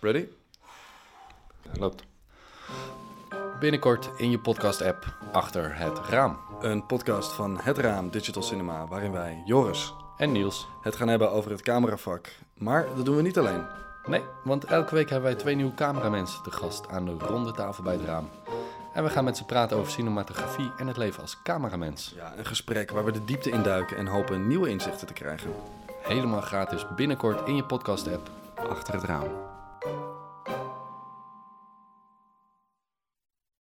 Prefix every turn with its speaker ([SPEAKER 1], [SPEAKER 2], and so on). [SPEAKER 1] Ready? Loopt. Binnenkort in je podcast-app achter het raam.
[SPEAKER 2] Een podcast van Het Raam Digital Cinema, waarin wij, Joris,
[SPEAKER 1] En Niels.
[SPEAKER 2] het gaan hebben over het cameravak. Maar dat doen we niet alleen.
[SPEAKER 1] Nee, want elke week hebben wij twee nieuwe cameramensen te gast aan de ronde tafel bij het raam. En we gaan met ze praten over cinematografie en het leven als cameramens.
[SPEAKER 2] Ja, een gesprek waar we de diepte induiken en hopen nieuwe inzichten te krijgen.
[SPEAKER 1] Helemaal gratis binnenkort in je podcast-app.
[SPEAKER 2] Achter het raam.